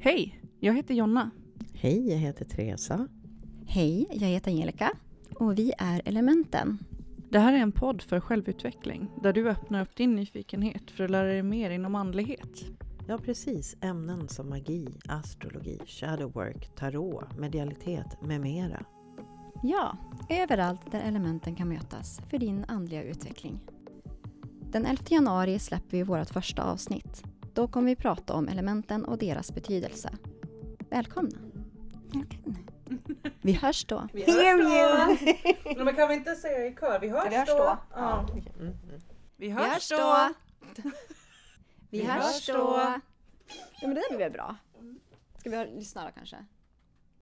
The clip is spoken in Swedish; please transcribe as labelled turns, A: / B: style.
A: Hej, jag heter Jonna.
B: Hej, jag heter Teresa.
C: Hej, jag heter Angelica och vi är Elementen.
A: Det här är en podd för självutveckling där du öppnar upp din nyfikenhet för att lära dig mer inom andlighet.
B: Ja, precis. Ämnen som magi, astrologi, shadowwork, tarot, medialitet med mera.
C: Ja, överallt där elementen kan mötas för din andliga utveckling. Den 11 januari släpper vi vårt första avsnitt. Då kommer vi prata om elementen och deras betydelse. Välkomna! Välkomna. Vi hörs då!
A: Vi hörs då! Men kan vi inte säga i kör? Vi hörs,
D: Vi hörs då. då. Ja.
A: Vi
C: Vi hörs då! Ja, men det där blev väl bra? Ska vi ha lyssna då kanske?